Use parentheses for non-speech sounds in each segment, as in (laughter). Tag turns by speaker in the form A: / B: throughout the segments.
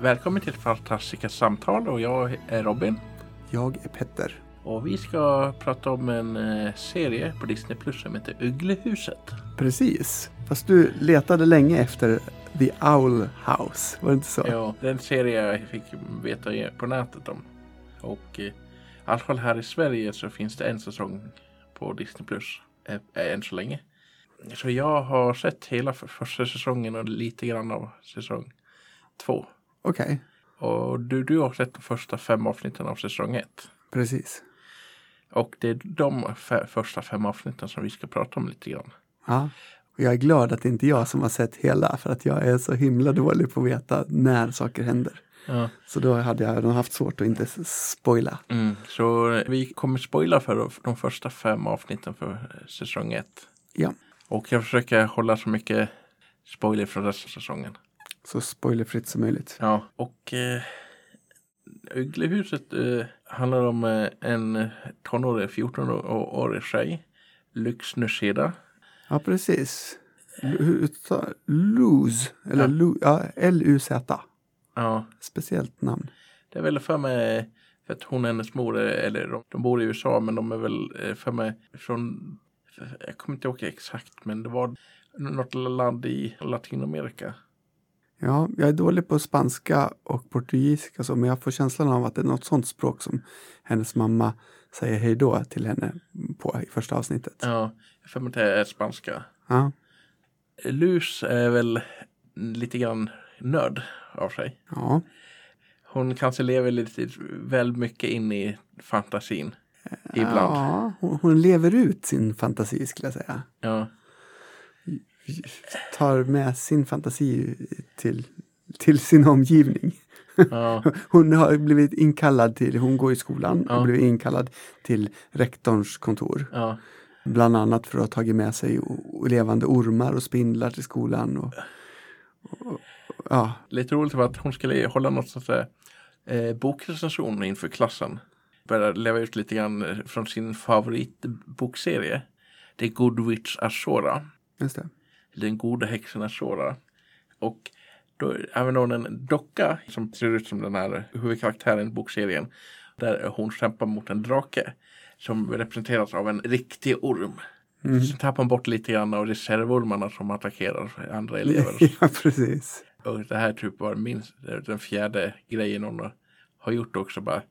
A: Välkommen till Fantastiska samtal och jag är Robin.
B: Jag är Petter.
A: Och vi ska prata om en eh, serie på Disney Plus som heter Ugglehuset.
B: Precis. Fast du letade länge efter The Owl House, var det inte så?
A: Ja, det är en serie jag fick veta på nätet om. Och eh, i alla fall här i Sverige så finns det en säsong på Disney Plus. eh, eh, Än så länge. Så jag har sett hela för- första säsongen och lite grann av säsong två.
B: Okej,
A: Och du, du har sett de första fem avsnitten av säsong ett.
B: precis.
A: Och det är de f- första fem avsnitten som vi ska prata om lite grann.
B: Ja. Och jag är glad att det inte är jag som har sett hela för att jag är så himla dålig på att veta när saker händer.
A: Ja.
B: Så då hade jag nog haft svårt att inte s- spoila.
A: Mm. Så vi kommer spoila för de- de första fem avsnitten för eh, säsong ett.
B: Ja,
A: Och jag försöker hålla så mycket spoiler från resten av säsongen.
B: så spoilerfritt som möjligt.
A: Ja. Och eh, Ugglehuset eh, handlar om eh, en tonårig, 14-årig tjej, Lux Nusheda.
B: Ja, precis. L- hur uttalar- Luz, eller Lu- ja, L-U-Z.
A: Ja,
B: Speciellt namn.
A: det är väl för mig för att hon och hennes mor, är- eller de, de bor i USA, men de är väl eh, för mig från, jag kommer inte ihåg exakt, men det var något land i Latinamerika.
B: Ja, jag är dålig på spanska och portugisiska så, men jag får känslan av att det är något sånt språk som hennes mamma säger hej då till henne på i första avsnittet. Ja.
A: Ja, jag för mig att det är spanska. Luz är väl lite grann nörd av sig.
B: ja.
A: Hon kanske lever lite väl mycket in i fantasin. Ibland. Ja.
B: Ja, hon, hon lever ut sin fantasi skulle jag säga. Tar med sin fantasi till, till sin omgivning.
A: Ja.
B: Hon har blivit inkallad till, hon går i skolan
A: Ja.
B: och blivit inkallad till rektorns kontor.
A: ja.
B: Bland annat för att ha tagit med sig o- levande ormar och spindlar till skolan. Och, och, ja,
A: Lite roligt var att hon skulle hålla något sånt där eh, bokrecension inför klassen. Började leva ut lite grann eh, från sin favoritbokserie. Det är Good Witch Ashora.
B: just det.
A: Den gode häxan Ashora. Och då använder hon en docka som ser ut som den här huvudkaraktären i bokserien. Där hon kämpar mot en drake som representeras av en riktig orm.
B: Mm.
A: Så tappar hon bort lite grann av reservormarna som attackerar andra
B: (laughs)
A: elever.
B: ja, precis.
A: Och det här typ var minst den fjärde grejen hon har- har gjort också. Bara,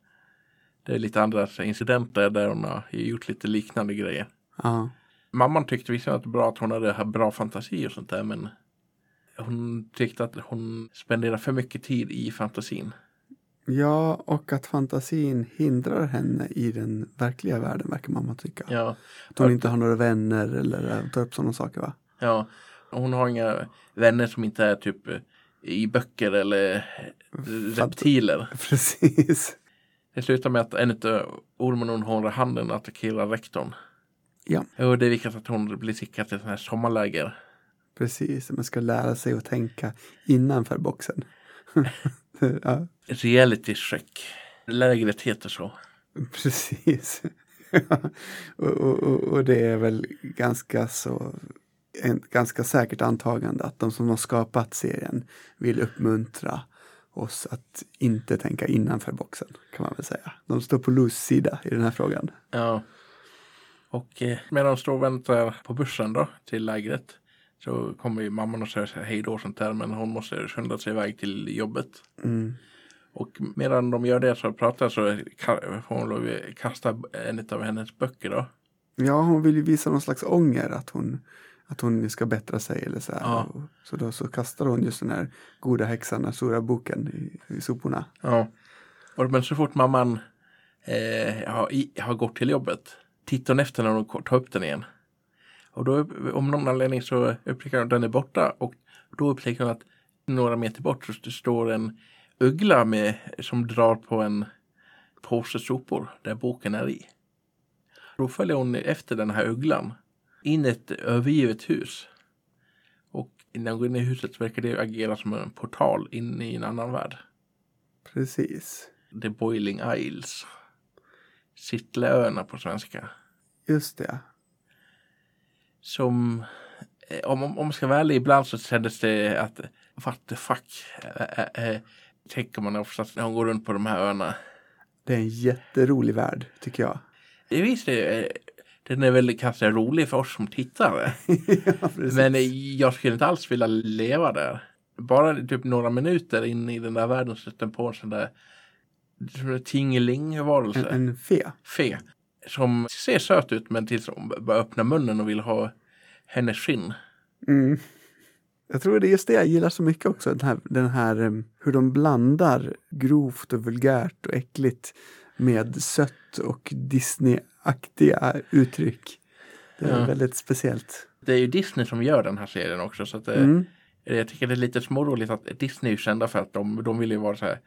A: det är lite andra så här incidenter där hon har gjort lite liknande grejer.
B: Ja,
A: Mamman tyckte visserligen att det var bra att hon hade här bra fantasi och sånt där men hon tyckte att hon spenderade för mycket tid i fantasin.
B: ja, och att fantasin hindrar henne i den verkliga världen verkar mamma tycka.
A: Ja,
B: Att hon inte har några vänner eller tar upp sådana saker va? (laughs)
A: ja. Hon har inga vänner som inte är typ eh, i böcker eller reptiler.
B: Precis.
A: Det slutar med att en av ormen hon har i handen attackerar rektorn.
B: Ja,
A: Och det är viktigt att hon blir skickad till sådana här sommarläger.
B: precis. Man ska lära sig att tänka innanför boxen. (laughs) ja,
A: Reality check. Lägret heter så.
B: (laughs) Precis. och, och, och- och det är väl ganska så en, ganska säkert antagande att de som har skapat serien vill uppmuntra oss att inte tänka innanför boxen kan man väl säga. De står på Lus sida i den här frågan.
A: Ja. Och eh, medan de står och väntar på bussen då till lägret så kommer ju mamman och säger hej då och sånt där men hon måste skynda sig iväg till jobbet.
B: Mm.
A: Och medan de gör det så pratar så ka- får hon lov att kasta en av hennes böcker då.
B: Ja, hon vill ju visa någon slags ånger att hon, att hon ska bättra sig eller så här.
A: Ja.
B: Och, så då så kastar hon just den här goda häxan, den stora boken i, i soporna.
A: Ja. Och, men så fort mamman eh, har, i, har gått till jobbet tittar hon efter när hon ko- tar upp den igen. Och då om någon anledning så upptäcker hon att den är borta och då upptäcker hon att några meter bort så st- står en uggla med, som drar på en påse sopor där boken är i. Då följer hon efter den här ugglan in i ett övergivet hus. Och när hon går in i huset verkar det agera som en portal in i en annan värld.
B: Precis.
A: The Boiling Isles. Sittleöarna på svenska.
B: Just det.
A: Som, eh, om, om om man ska vara ärlig, ibland så kändes det att what the fuck. eh, eh, eh, tänker man oftast när hon går runt på de här öarna.
B: Det är en jätterolig värld, tycker jag. (laughs)
A: Det visst, eh, den är väl kanske rolig för oss som tittare.
B: ja, precis.
A: Men eh, jag skulle inte alls vilja leva där. Bara typ några minuter in i den där världen så stötte jag på en sån där som en
B: en,
A: tingeling-varelse.
B: en fe.
A: Fe. Som ser söt ut men tills hon bara öppnar munnen och vill ha hennes skinn.
B: Mm. Jag tror det är just det jag gillar så mycket också, den här, den här em, hur de blandar grovt och vulgärt och äckligt med sött och Disney-aktiga uttryck. Det är
A: Ja.
B: väldigt speciellt.
A: Det är ju Disney som gör den här serien också så att eh,
B: Mm.
A: Jag tycker det är lite småroligt att Disney är ju kända för att de, de vill ju vara så här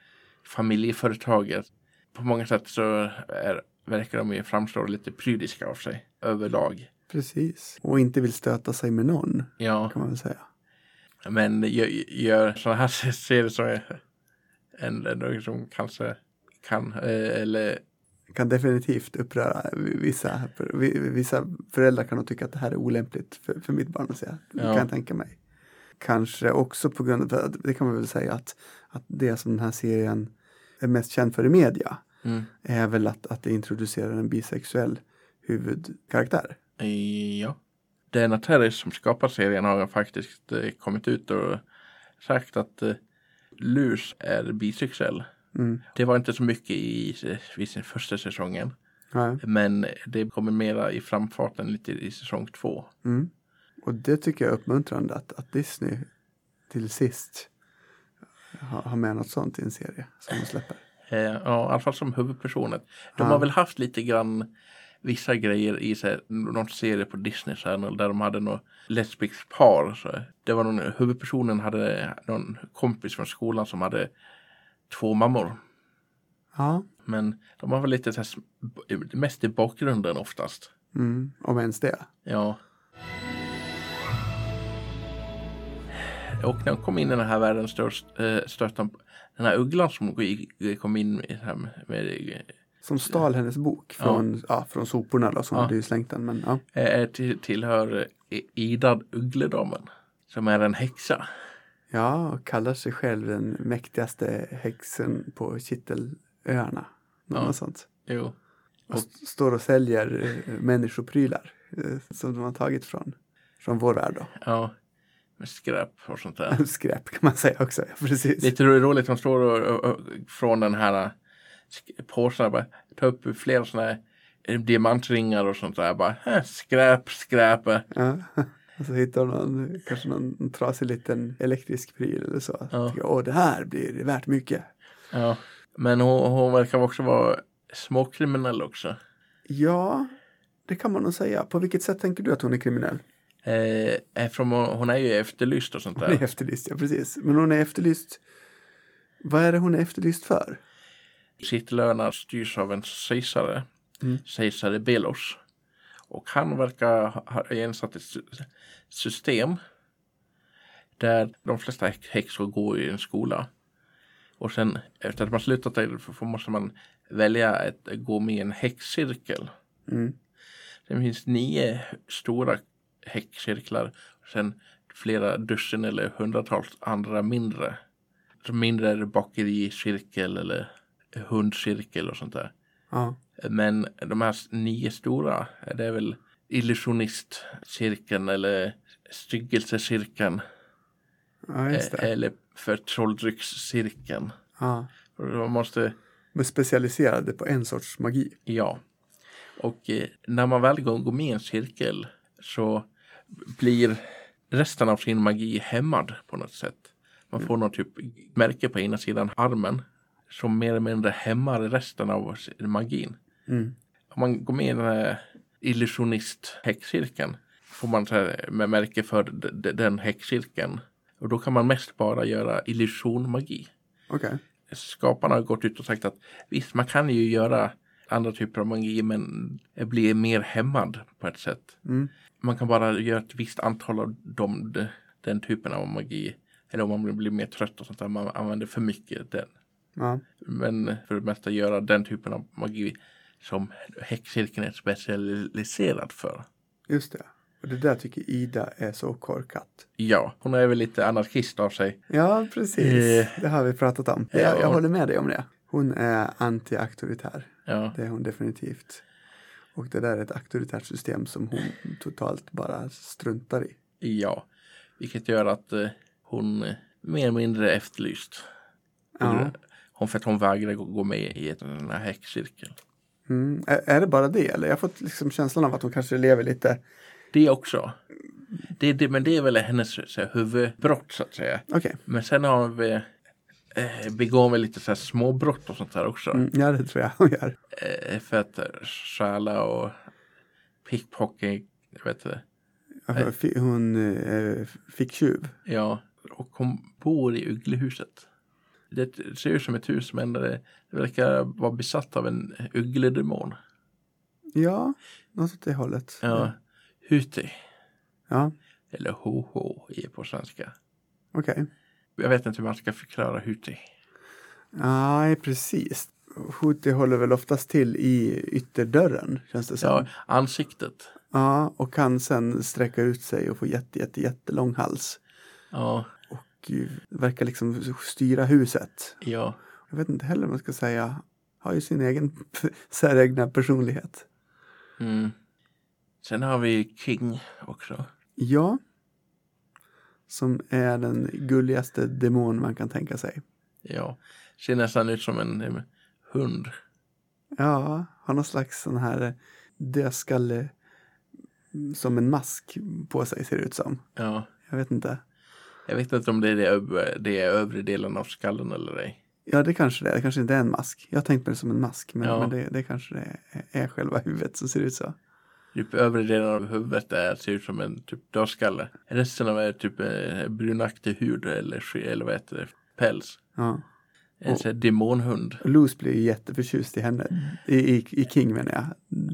A: familjeföretaget. På många sätt så är, verkar de ju framstå lite prydiska av sig överlag.
B: Precis. Och inte vill stöta sig med någon,
A: Ja,
B: kan man väl säga.
A: men gö- gör sådana här serier som är en, en som kanske kan eh, eller
B: Kan definitivt uppröra vissa, vissa föräldrar kan nog tycka att det här är olämpligt för, för mitt barn att säga. Det
A: Ja.
B: kan jag tänka mig. Kanske också på grund av, det kan man väl säga att, att det som den här serien är mest känd för i media
A: mm,
B: är väl att, att det introducerar en bisexuell huvudkaraktär.
A: eh, ja. Dana Terris som skapar serien har faktiskt eh, kommit ut och sagt att eh, Lurs är bisexuell.
B: Mm.
A: Det var inte så mycket i, eh, i sin första säsongen.
B: Ja.
A: Men det kommer mera i framfarten lite i säsong två.
B: Mm. Och det tycker jag är uppmuntrande att, att Disney till sist har, har med något sånt i en serie som de släpper.
A: Eh, ja, i alla fall som huvudpersonen. De
B: Ja.
A: har väl haft lite grann vissa grejer i sig, någon serie på Disney Channel där de hade något lesbiskt par. Så det var någon, huvudpersonen hade någon kompis från skolan som hade två mammor.
B: Ja.
A: Men de var väl lite så här, sm- mest i bakgrunden oftast.
B: Mm. Om ens det.
A: Ja. Och när hon kom in i den här världen störst, eh, stötte han på den här ugglan som gick- kom in i här med, med,
B: Som stal hennes bok från, ja. från soporna då, som
A: Ja.
B: hade ju slängt den. Men, ja.
A: eh, till, tillhör eh, Ida Uggledamen som är en häxa.
B: ja, och kallar sig själv den mäktigaste häxen på Kittelöarna.
A: Ja.
B: Ja. sånt.
A: Jo.
B: Och st- står och säljer eh, människoprylar eh, som de har tagit från, från vår värld då. (laughs)
A: Ja. Med skräp och sånt (laughs) där.
B: Skräp kan man säga också, ja, precis.
A: Lite ro- roligt, de står och, och, och, från den här eh, sk- påsen och bara tar upp flera sådana här eh, diamantringar och sånt där. Bara, eh, skräp, skräp. eh.
B: Ja. (laughs) Och så hittar de någon, kanske någon trasig liten elektrisk pryl eller så.
A: Ja.
B: Ja. Tänker, Åh, det här blir värt mycket.
A: Ja, men hon, hon verkar också vara småkriminell också.
B: Ja, det kan man nog säga. På vilket sätt tänker du att hon är kriminell?
A: Eh, eftersom hon, hon är ju efterlyst och sånt
B: Hon är
A: där.
B: efterlyst, ja precis. Men hon är efterlyst. Vad är det hon är efterlyst för?
A: Kittlöarna styrs av en kejsare,
B: Mm.
A: kejsare Belos. Och han verkar ha- ha ensatt ett sy- system där de flesta hä- häxor går i en skola. Och sen efter att man slutat där f- f- måste man välja att gå med i en häxcirkel.
B: Mm.
A: Det finns nio stora häckcirklar och sen flera dussin eller hundratals andra mindre. Så mindre är det bakericirkel eller hundcirkel och sånt där.
B: Ja.
A: Men de här nio stora, det är väl illusionistcirkeln eller styggelsecirkeln eh,
B: ja, just det.
A: eller för trolldryckscirkeln.
B: Ja.
A: Och Man måste
B: Men specialiserade på en sorts magi.
A: Ja. Och eh, när man väl går går med i en cirkel så blir resten av sin magi hämmad på något sätt. Man får något typ märke på ena sidan armen som mer eller mindre hämmar resten av sin- magin.
B: Mm.
A: Om man går med i den här illusionist-häxcirkeln får man så här med märke för d- d- den häxcirkeln. Och då kan man mest bara göra illusionmagi
B: Okej.
A: skaparna har gått ut och sagt att visst, man kan ju göra andra typer av magi, men bli mer hämmad på ett sätt.
B: Mm.
A: Man kan bara göra ett visst antal av dem, de- den typen av magi. Eller om man blir mer trött och sånt där, man använder för mycket den.
B: Ja.
A: Men för det mesta göra den typen av magi som häxcirkeln är specialiserad för.
B: Just det. Och det där tycker Ida är så korkat.
A: Ja, hon är väl lite anarkist av sig.
B: Ja, precis. Det har vi pratat om.
A: Ja,
B: Jag, jag
A: och-
B: håller med dig om det. Hon är anti-auktoritär.
A: Ja,
B: Det är hon definitivt. Och det där är ett auktoritärt system som hon totalt bara struntar i.
A: ja. vilket gör att eh, hon eh, mer eller mindre är efterlyst.
B: Ja.
A: Hon, för att hon vägrar gå- gå med i ett- den här häxcirkeln.
B: Mm. Är, är det bara det eller? Jag har fått liksom känslan av att hon kanske lever lite.
A: Det också. Det, det, men det är väl hennes så här, huvudbrott så att säga.
B: Okej,
A: Men sen har hon väl, eh, begår hon väl lite så här småbrott och sånt där också.
B: mm. ja det tror jag hon gör.
A: Eh, för att eh, stjäla och pickpocket, jag vet inte.
B: Hon fi- Hon eh, fick tjuv.
A: Ja, och hon bor i ugglehuset. Det ser ut som ett hus men det det verkar vara besatt av en uggledemon.
B: Ja, något åt det hållet.
A: Ja, Eh, Huti,
B: ja.
A: eller HH är på svenska.
B: okej.
A: Jag vet inte hur man ska förklara Huti.
B: Nej, precis. Houthi håller väl oftast till i ytterdörren, känns det som.
A: Ja,
B: Ja.
A: ansiktet.
B: och kan sen sträcka ut sig och få jätte, jätte, jättelång hals.
A: Ja,
B: Och ju- verkar liksom styra huset.
A: ja.
B: Jag vet inte heller vad man ska säga. Har ju sin egen (laughs) säregna personlighet.
A: Mm. Sen har vi King också.
B: Ja. Som är den gulligaste demon man kan tänka sig.
A: Ja, ser nästan ut som en eh, hund.
B: Ja, har någon slags sån här dödskalle mm, som en mask på sig ser det ut som.
A: Ja,
B: Jag vet inte.
A: jag vet inte om det är det, öv- det är övre delen av skallen eller ej.
B: Ja, det kanske det är. Det kanske inte är en mask. Jag har tänkt på det som en mask, men,
A: Ja.
B: men det, det kanske det är, är själva huvudet som ser ut så.
A: Typ övre delen av huvudet är, ser ut som en typ dödskalle. Resten av är typ eh, brunaktig hud eller, ske- eller vad heter det, päls.
B: Ja.
A: En
B: Och-
A: sån här demonhund.
B: Och Luz blir ju jätteförtjust i henne, i, i, i King menar jag,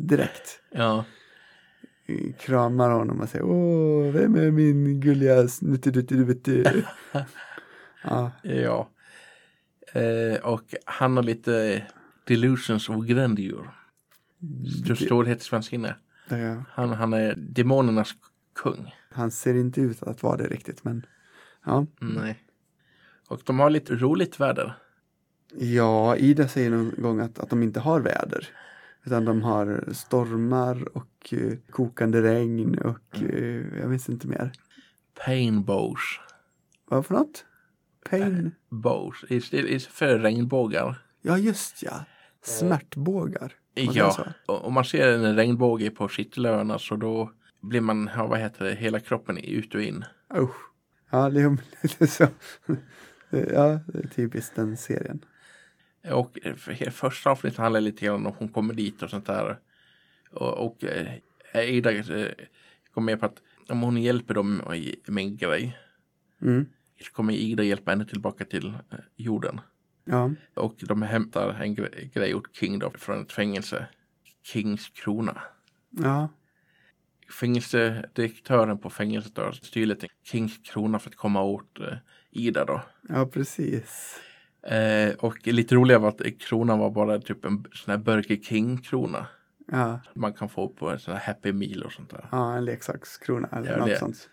B: direkt.
A: Ja,
B: Kramar honom och säger åh, vem är min gulliga snuttiduttidutti? ja,
A: ja. Eh, och han har lite delusions of grandeur. Stor- Storhetsvansinne.
B: det,
A: Han, han är demonernas kung.
B: han ser inte ut att vara det riktigt, men ja.
A: Nej. Mm. Och de har lite roligt väder.
B: Ja, Ida säger någon gång att, att de inte har väder. Utan de har stormar och eh, kokande regn och eh, jag minns inte mer.
A: Pain bows.
B: Vad för något? Pain?
A: Bows. Istället för regnbågar.
B: Ja, just ja. Smärtbågar. Om man säger
A: Ja,
B: så.
A: och- om man ser en regnbåge på kittlöarna så då blir man, ja, vad heter det, hela kroppen i- ut och in.
B: Usch. Ja, (laughs) det är lite så. Ja, det är typiskt den serien.
A: Och eh, för- he- första avsnittet handlar lite grann om hon kommer dit och sånt där. Och, och eh, Ida eh, kom med på att om hon hjälper dem i- med en grej
B: Mm.
A: så kommer Ida hjälpa henne tillbaka till eh, jorden.
B: Ja,
A: Och de hämtar en gre- grej åt King då, från ett fängelse. Kings krona.
B: ja,
A: Fängelsedirektören på fängelset då styr lite Kings krona för att komma åt eh, Ida då.
B: ja precis.
A: Eh, och lite roligare var att eh, kronan var bara typ en sån här Burger King-krona.
B: Ja,
A: Man kan få på en sån här Happy Meal och sånt där.
B: ja en leksakskrona eller
A: Ja,
B: något
A: det-
B: sånt.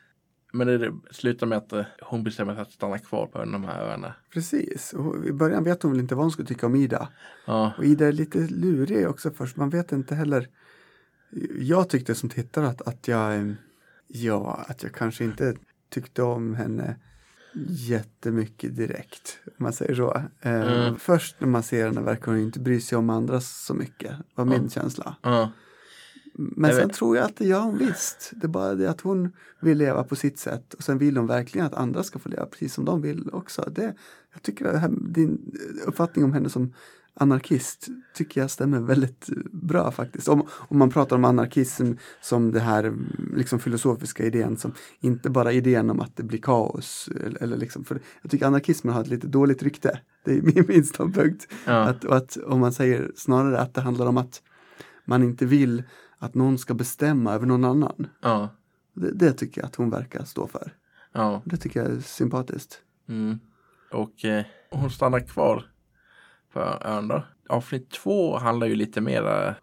A: Men det slutar med att eh, hon bestämmer sig att stanna kvar på en av de här öarna.
B: Precis. Och I början vet hon väl inte vad hon skulle tycka om Ida.
A: Ja,
B: Och Ida är lite lurig också först, man vet inte heller. Jag tyckte som tittare att, att jag, eh, ja, att jag kanske inte tyckte om henne jättemycket direkt, om man säger så. Eh,
A: Mm.
B: Först när man ser henne verkar hon inte bry sig om andra så mycket, var min
A: Mm.
B: känsla.
A: ja,
B: Men
A: Jag
B: sen
A: vet.
B: tror jag att det gör hon visst. Det är bara det att hon vill leva på sitt sätt och sen vill hon verkligen att andra ska få leva precis som de vill också. Det, jag tycker att det här, din uppfattning om henne som anarkist tycker jag stämmer väldigt bra faktiskt. Om, om man pratar om anarkism som det här mm, liksom filosofiska idén som inte bara idén om att det blir kaos. Eller, eller liksom, för jag tycker anarkismen har ett lite dåligt rykte. Det är min, (laughs) min ståndpunkt.
A: ja,
B: Att, och att om man säger snarare att det handlar om att man inte vill att någon ska bestämma över någon annan.
A: ja,
B: Det, det tycker jag att hon verkar stå för.
A: ja.
B: Det tycker jag är sympatiskt.
A: Mm. Och eh, hon stannar kvar på ön då. Avsnitt två handlar ju lite mer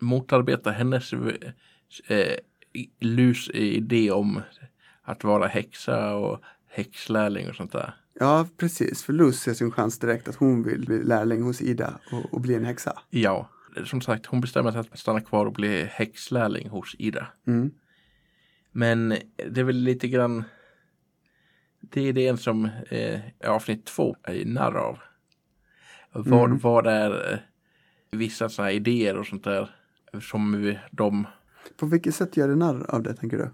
A: motarbeta hennes eh, lus idé om att vara häxa och häxlärling och sånt där.
B: Ja, precis. För Lucy ser sin chans direkt att hon vill bli lärling hos Ida och, och bli en häxa.
A: Ja, som sagt, hon bestämmer sig att stanna kvar och bli häxlärling hos Ida.
B: Mm.
A: Men det är väl lite grann det är det som eh, avsnitt två är narr av. Vad,
B: Mm.
A: vad är eh, vissa sådana här idéer och sånt där som vi- de,
B: På vilket sätt gör det narr av det, tänker du?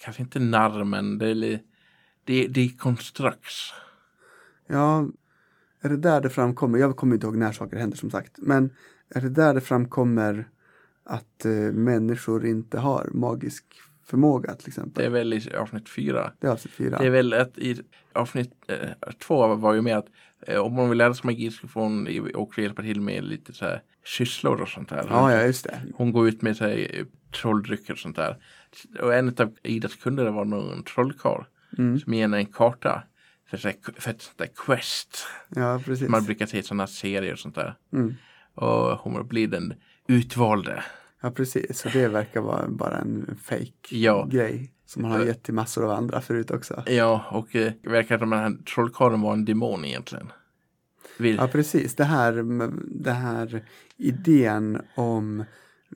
A: kanske inte narr men det är, li- det, det är constructs.
B: Ja, är det där det framkommer? Jag kommer inte ihåg när saker händer som sagt. Men är det där det framkommer att eh, människor inte har magisk förmåga till exempel?
A: Det är väl i avsnitt fyra.
B: Det är avsnitt fyra.
A: Det är väl att i avsnitt eh, två var ju med att eh, om man vill lära sig magi så får hon i- också hjälpa till med lite så här sysslor och sånt där.
B: Ja, ja, just det.
A: Hon går ut med sig trolldrycker och sånt där. Och en av Idas kunder var någon trollkarl
B: Mm.
A: som ger henne en karta för, så här, för ett sånt där quest.
B: Ja, precis.
A: Man brukar se i sådana serier och sånt där.
B: Mm.
A: Och hon blir den utvalde.
B: Ja, precis. Så det verkar vara bara en fake
A: Ja.
B: grej som man har gett till massor av andra förut också.
A: Ja, och eh, det verkar som att den här trollkarlen var en demon egentligen. Vill,
B: Ja, precis. Det här, det här idén om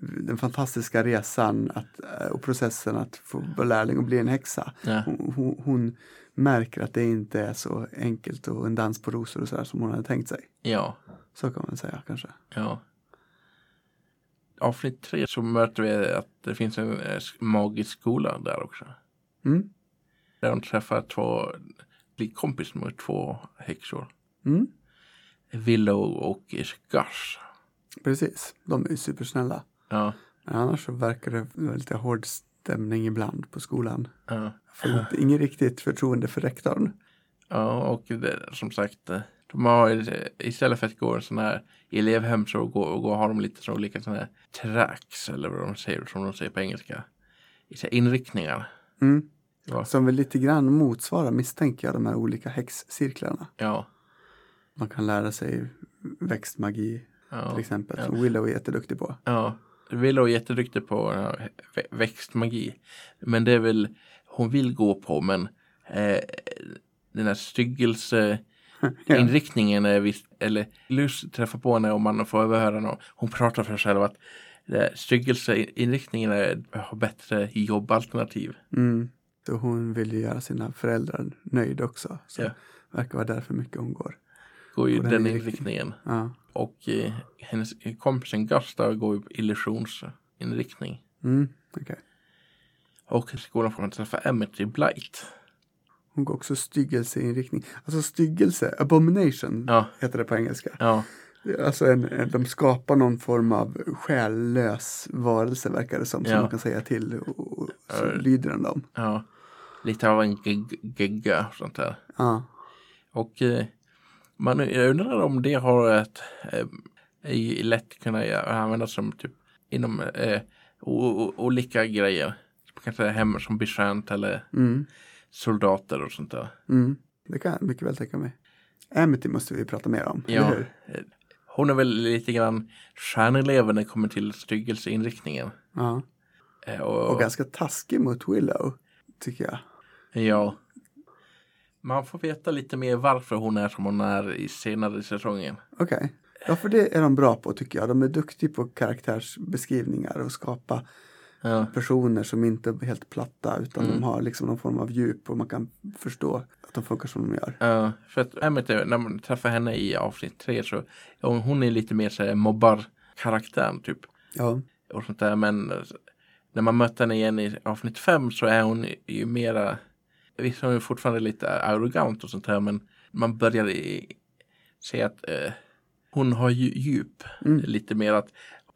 B: den fantastiska resan att, eh, och processen att få vara lärling och bli en häxa.
A: ja.
B: Hon, hon, hon märker att det inte är så enkelt och en dans på rosor och sådär som hon hade tänkt sig.
A: ja.
B: Så kan man säga kanske.
A: Ja. Avsnitt tre så möter vi att det finns en eh, magisk skola där också.
B: Mm.
A: Där de träffar två, blir kompis med två häxor.
B: Mm.
A: Willow och Gush.
B: Precis, de är ju supersnälla.
A: Ja,
B: Men annars så verkar det vara lite hård stämning ibland på skolan.
A: ja,
B: Jag får inte, inget riktigt förtroende för rektorn.
A: ja, och det, som sagt, eh, de har ju- istället för att gå en sån här elevhem så går, går, har de lite så olika såna här tracks eller vad de säger, som de säger på engelska. I så här Inriktningar.
B: Mm.
A: Ja.
B: Som väl lite grann motsvarar, misstänker jag, de här olika häxcirklarna.
A: Ja,
B: Man kan lära sig växtmagi
A: ja.
B: till exempel,
A: ja.
B: som Willow är jätteduktig på. (laughs)
A: Ja, Willow är jätteduktig på ja, vä- växtmagi. Men det är väl hon vill gå på men eh, den här styggelseinriktningen är visst, eller Lus träffar på henne och man får överhöra henne. och Hon pratar för sig själv att eh, styggelseinriktningen är- har bättre jobbalternativ.
B: Mm. Så hon vill ju göra sina föräldrar nöjda också. Så
A: Ja.
B: verkar vara därför mycket hon går.
A: Går ju
B: På
A: den,
B: den inriktningen.
A: inriktningen.
B: Ja.
A: Och eh, hennes kompisen Gustav går ju på illusionsinriktning.
B: Mm. okej.
A: Och i skolan får man träffa Emmett i Blight.
B: Hon går också styggelseinriktning. Alltså styggelse, abomination
A: Ja,
B: heter det på engelska.
A: ja.
B: Alltså en, en, de skapar någon form av själlös varelse verkar det som, som
A: Ja.
B: man kan säga till och, och så
A: Ja.
B: lyder den dem.
A: Ja, lite av en gig- gigga och sånt där.
B: Ja.
A: Och eh, man jag undrar om det har ett eh, i- lätt kunna göra- användas som typ inom eh, o- o- olika grejer. Typ Kanske hem som betjänt eller
B: Mm.
A: soldater och sånt där.
B: Mm. Det kan jag mycket väl tänka mig. Amity måste vi prata mer om,
A: Ja.
B: eller hur?
A: Eh, Hon är väl lite grann stjärneleven när det kommer till styggelseinriktningen.
B: Ja.
A: Eh,
B: Och ganska taskig mot Willow, tycker jag.
A: Ja. Man får veta lite mer varför hon är som hon är i senare i säsongen.
B: Okej. Ja, för det är de bra på tycker jag. De är duktiga på karaktärsbeskrivningar och skapa
A: Ja.
B: personer som inte är helt platta utan
A: Mm.
B: de har liksom någon form av djup och man kan förstå att de funkar som de gör.
A: Ja, för att Emmet, är- när man träffar henne i avsnitt tre så hon, hon är lite mer så här mobbar-karaktären typ.
B: Ja,
A: Och sånt där. Men eh, när man möter henne igen i avsnitt fem så är hon ju mera, visst hon är fortfarande lite arrogant och sånt där men man börjar i, se att eh, hon har ju djup
B: Mm.
A: lite mer att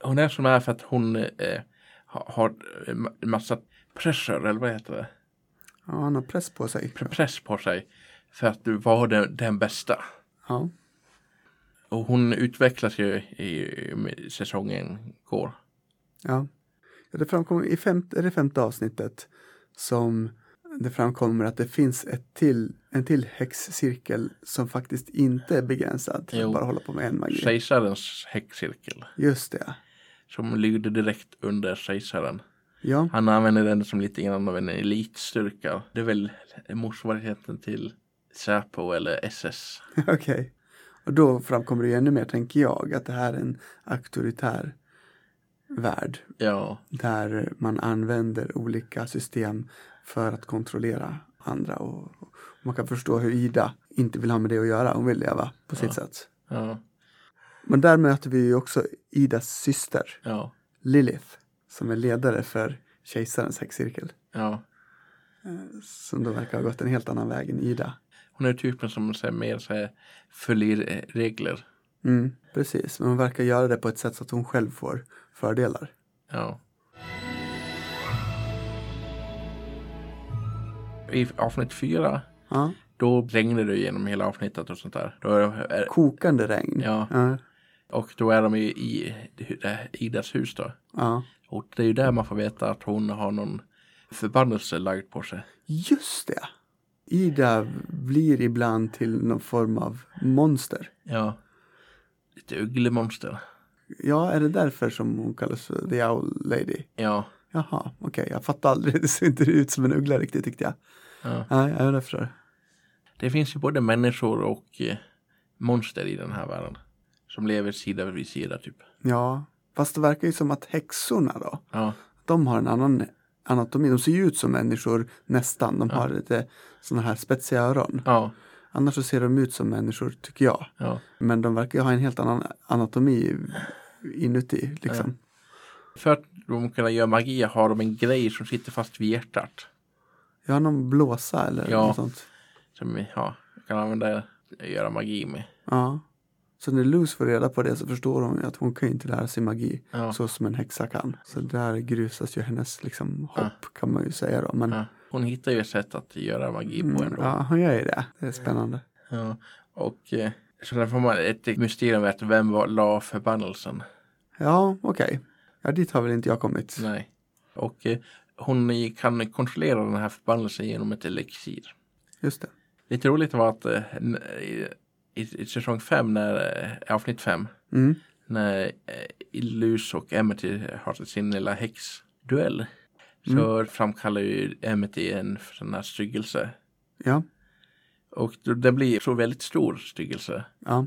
A: hon är som hon är för att hon eh, ha- har eh, ma- massa pressure eller vad heter det?
B: ja han har press på sig.
A: Pre- Press på sig för att du var den, den bästa.
B: Ja.
A: Och hon utvecklas ju i, i säsongen går.
B: Ja. ja det framkommer i femte, är det femte avsnittet som det framkommer att det finns ett till, en till häxcirkel som faktiskt inte är begränsad till
A: Jo.
B: att bara hålla på med en magi.
A: Kejsarens häxcirkel.
B: Just det,
A: Som lyder direkt under kejsaren.
B: Ja,
A: Han använder den som lite grann av en elitstyrka. Det är väl motsvarigheten till Säpo eller SS.
B: (laughs) okej. Och då framkommer det ju ännu mer, tänker jag, att det här är en auktoritär värld
A: Ja,
B: där man använder olika system för att kontrollera andra. Och, och man kan förstå hur Ida inte vill ha med det att göra, hon vill leva på sitt sätt.
A: ja,
B: Men där möter vi ju också Idas syster,
A: ja,
B: Lilith, som är ledare för kejsarens häxcirkel.
A: ja.
B: eh, Som då verkar ha gått en helt annan väg än Ida.
A: Hon är typen som så här, mer så här, följer eh, regler.
B: Mm, precis, men hon verkar göra det på ett sätt så att hon själv får fördelar.
A: Ja. I avsnitt fyra,
B: Ja.
A: då regnar det genom hela avsnittet och sånt där. Då är, är,
B: Kokande regn.
A: ja,
B: Ja,
A: och då är de ju i det- Idas hus då.
B: ja.
A: Och det är ju där man får veta att hon har någon förbannelse lagd på sig.
B: Just det! Ida blir ibland till någon form av monster.
A: Ja. Ett öglemonster.
B: Ja, är det därför som hon kallas för The Owl Lady?
A: Ja.
B: Jaha, okej, jag fattar aldrig. (laughs) Det ser inte ut som en uggla riktigt tyckte jag.
A: ja.
B: Nej, ja, jag förstår.
A: Det finns ju både människor och eh, monster i den här världen. Som lever sida vid sida typ.
B: Ja, fast det verkar ju som att häxorna då,
A: Ja.
B: de har en annan anatomi. De ser ju ut som människor nästan. De har lite sådana här spetsiga öron.
A: Ja.
B: Annars så ser de ut som människor tycker jag.
A: ja.
B: Men de verkar ju ha en helt annan anatomi inuti liksom.
A: För att de kan göra magi har de en grej som sitter fast vid hjärtat.
B: Jag har någon blåsa eller
A: Ja.
B: något sånt.
A: Som ja, kan använda göra magi med.
B: Ja. Så när Luz får reda på det så förstår hon ju att hon kan ju inte lära sig magi
A: Ja.
B: så som en häxa kan. Så där grusas ju hennes liksom hopp kan man ju säga då. Men
A: Ja. Hon hittar ju ett sätt att göra magi på
B: mm,
A: ändå.
B: ja, hon gör ju det. Det är spännande.
A: Ja. Och eh, så där får man ett mysterium med att vem var, la förbannelsen.
B: Ja, okej. Ja, dit har väl inte jag kommit.
A: Nej. Och eh, hon kan kontrollera den här förbannelsen genom ett elixir.
B: Just det.
A: Lite roligt var att eh, n- i, i, i säsong 5, när, eh, avsnitt 5,
B: Mm.
A: när eh, Luz och Emmety har sin lilla häxduell så framkallar ju Emmety en sån här styggelse.
B: Ja,
A: Och då- det blir så väldigt stor styggelse.
B: ja,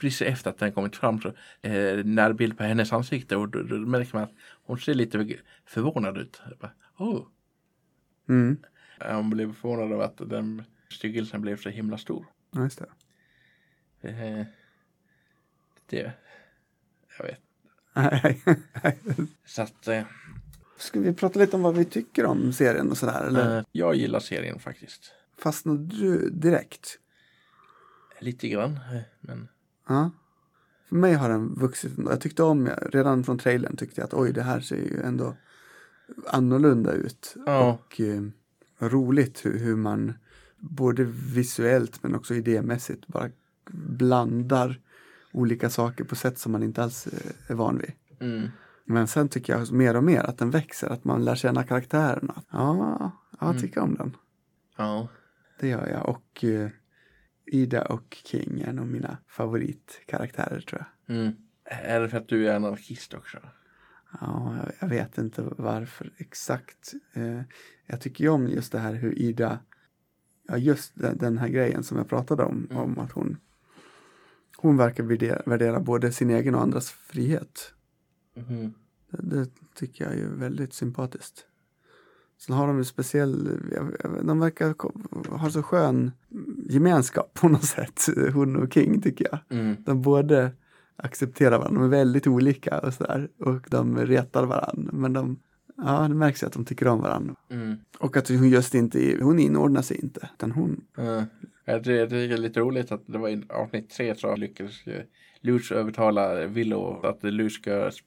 A: Precis efter att den kommit fram så eh, närbild på hennes ansikte och då, då märker man att hon ser lite förvånad ut. Jag bara, oh.
B: mm.
A: Han blev förvånad över att den styggelsen blev så himla stor.
B: ja just det. (laughs)
A: Eh, Det, jag vet.
B: Nej, nej.
A: Så att, eh,
B: Ska vi prata lite om vad vi tycker om serien och sådär? Eller
A: eh, jag gillar serien faktiskt.
B: fastnade du direkt?
A: Lite grann, eh, men
B: Ja. För mig har den vuxit. ändå. Jag tyckte om, redan från trailern tyckte jag att oj, det här ser ju ändå annorlunda ut.
A: Ja.
B: Och eh, roligt hur, hur man både visuellt men också idémässigt bara blandar olika saker på sätt som man inte alls eh, är van vid.
A: mm,
B: Men sen tycker jag mer och mer att den växer, att man lär känna karaktärerna. Ja, ja jag tycker om den.
A: ja.
B: Det gör jag. Och eh, Ida och King är nog mina favoritkaraktärer tror jag.
A: Mm. Är det för att du är anarkist också?
B: Ja, jag- jag vet inte varför exakt. Eh, jag tycker ju om just det här hur Ida, ja just den, den här grejen som jag pratade om, om att hon, hon verkar värdera, värdera både sin egen och andras frihet.
A: Mhm.
B: Det, det tycker jag är ju väldigt sympatiskt. Sen har de en speciell, jag- jag- de verkar ko- ha så skön gemenskap på något sätt, (laughs) hon och King tycker jag.
A: Mm.
B: De både accepterar varandra, de är väldigt olika och sådär. Och de retar varandra. Men de, ja, det märks ju att de tycker om varandra.
A: Mm.
B: Och att hon just inte, är- hon inordnar sig inte. Utan hon,
A: Eh, Jag tycker jag tycker det är lite roligt att det var i avsnitt tre så lyckades ju Luz övertala Willow att Luz ska sp-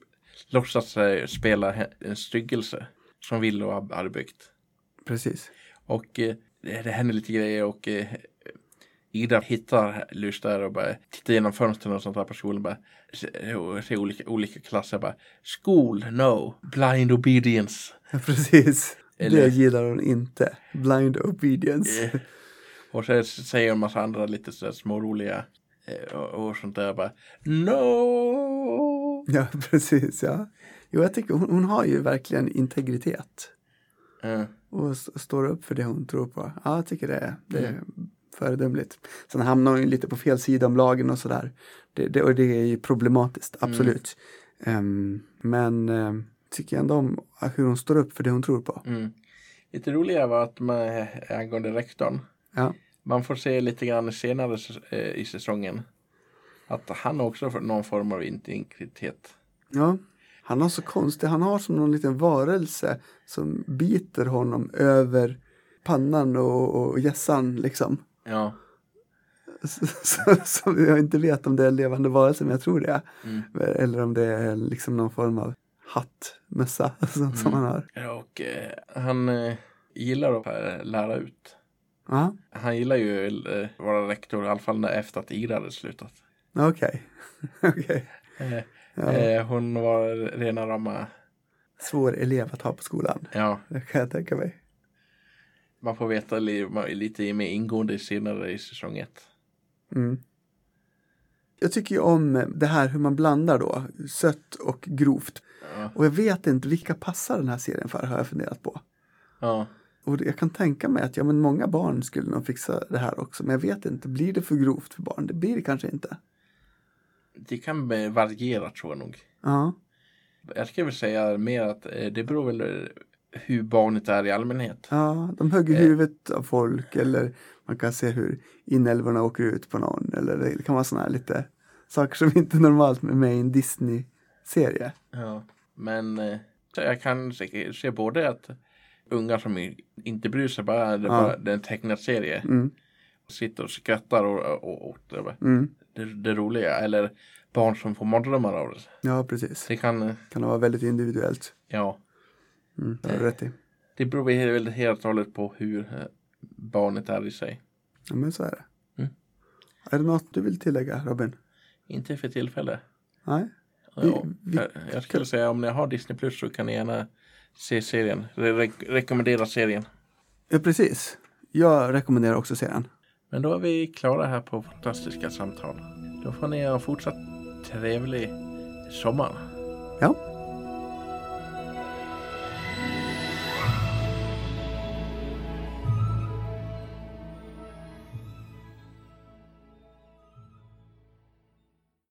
A: låtsas eh, spela he- en styggelse som Willow har- hade byggt.
B: precis. (laughs)
A: Och eh, det det händer lite grejer och eh, Ida hittar Lys där och bara tittar genom fönstren och sånt där på skolan. Bara, se- och ser olika, olika klasser bara School, no, blind obedience.
B: Ja, precis.
A: Eller-
B: Det gillar hon inte. Blind obedience.
A: Eh, (laughs) och så säger en massa andra lite sådär småroliga eh, och, och sånt där bara No!
B: Ja, precis. Ja. Jo, jag tycker hon, hon har ju verkligen integritet
A: Eh,
B: och s- står upp för det hon tror på. Ja, jag tycker det, är- det är föredömligt. Sen hamnar hon ju lite på fel sida om lagen och sådär. Det, det, och det är ju problematiskt, absolut. Ehm, men ehm, tycker jag ändå om hur hon står upp för det hon tror på.
A: mm. Lite roligare var att man, angående rektorn.
B: Ja,
A: Man får se lite grann senare s- eh, i säsongen att han också får någon form av integritet.
B: ja. Han har så konstigt, han har som någon liten varelse som biter honom över pannan och, och hjässan liksom.
A: Ja,
B: Som jag inte vet om det är en levande varelse, men jag tror det.
A: Mm.
B: Eller om det är liksom någon form av hattmössa (laughs) som,
A: Mm.
B: som han har.
A: och eh, han eh, gillar att eh, lära ut.
B: Ja,
A: Han gillar ju eh, vara rektor, i alla fall när- efter att Ida hade slutat.
B: okej. (laughs) Okej.
A: Eh,
B: Ja.
A: eh, hon var rena rama,
B: Svår elev att ha på skolan,
A: ja,
B: det kan jag tänka mig.
A: man får veta li, ma- lite mer ingående senare i säsong ett.
B: Mm. Jag tycker ju om det här hur man blandar då, sött och grovt.
A: Ja,
B: Och jag vet inte vilka passar den här serien för, har jag funderat på.
A: ja,
B: Och jag kan tänka mig att ja, men många barn skulle nog fixa det här också, men jag vet inte, blir det för grovt för barn? Det blir det kanske inte.
A: det kan eh, variera tror jag nog.
B: Ja.
A: Jag skulle väl säga mer att eh, det beror väl eh, hur barnet är i allmänhet.
B: Ja, de högg i
A: Eh.
B: huvudet av folk eller man kan se hur inälvorna åker ut på någon eller det kan vara sådana här lite saker som inte är normalt med mig i en Disney-serie.
A: Ja. Men eh, jag kan se, se både att unga som i- inte bryr sig bara, det är
B: Ja.
A: bara det är en tecknad serie,
B: Mm,
A: sitter och skrattar och, och, och det,
B: mm.
A: det, det roliga. Eller barn som får mardrömmar av det.
B: Ja, precis.
A: Det kan, eh,
B: Kan vara väldigt individuellt.
A: ja,
B: Mm, det har du rätt i.
A: det beror väl helt och hållet på hur eh, barnet är i sig.
B: Ja, men så är det.
A: Mm.
B: Är det något du vill tillägga, Robin?
A: Inte för tillfället.
B: Nej? Vi-
A: Ja,
B: vi-
A: jag, jag skulle säga om ni har Disney Plus så kan ni gärna se serien. Re re- rekommendera serien.
B: Ja, precis. Jag rekommenderar också serien.
A: Men då är vi klara här på Fantastiska samtal. Då får ni ha en fortsatt trevlig sommar.
B: Ja,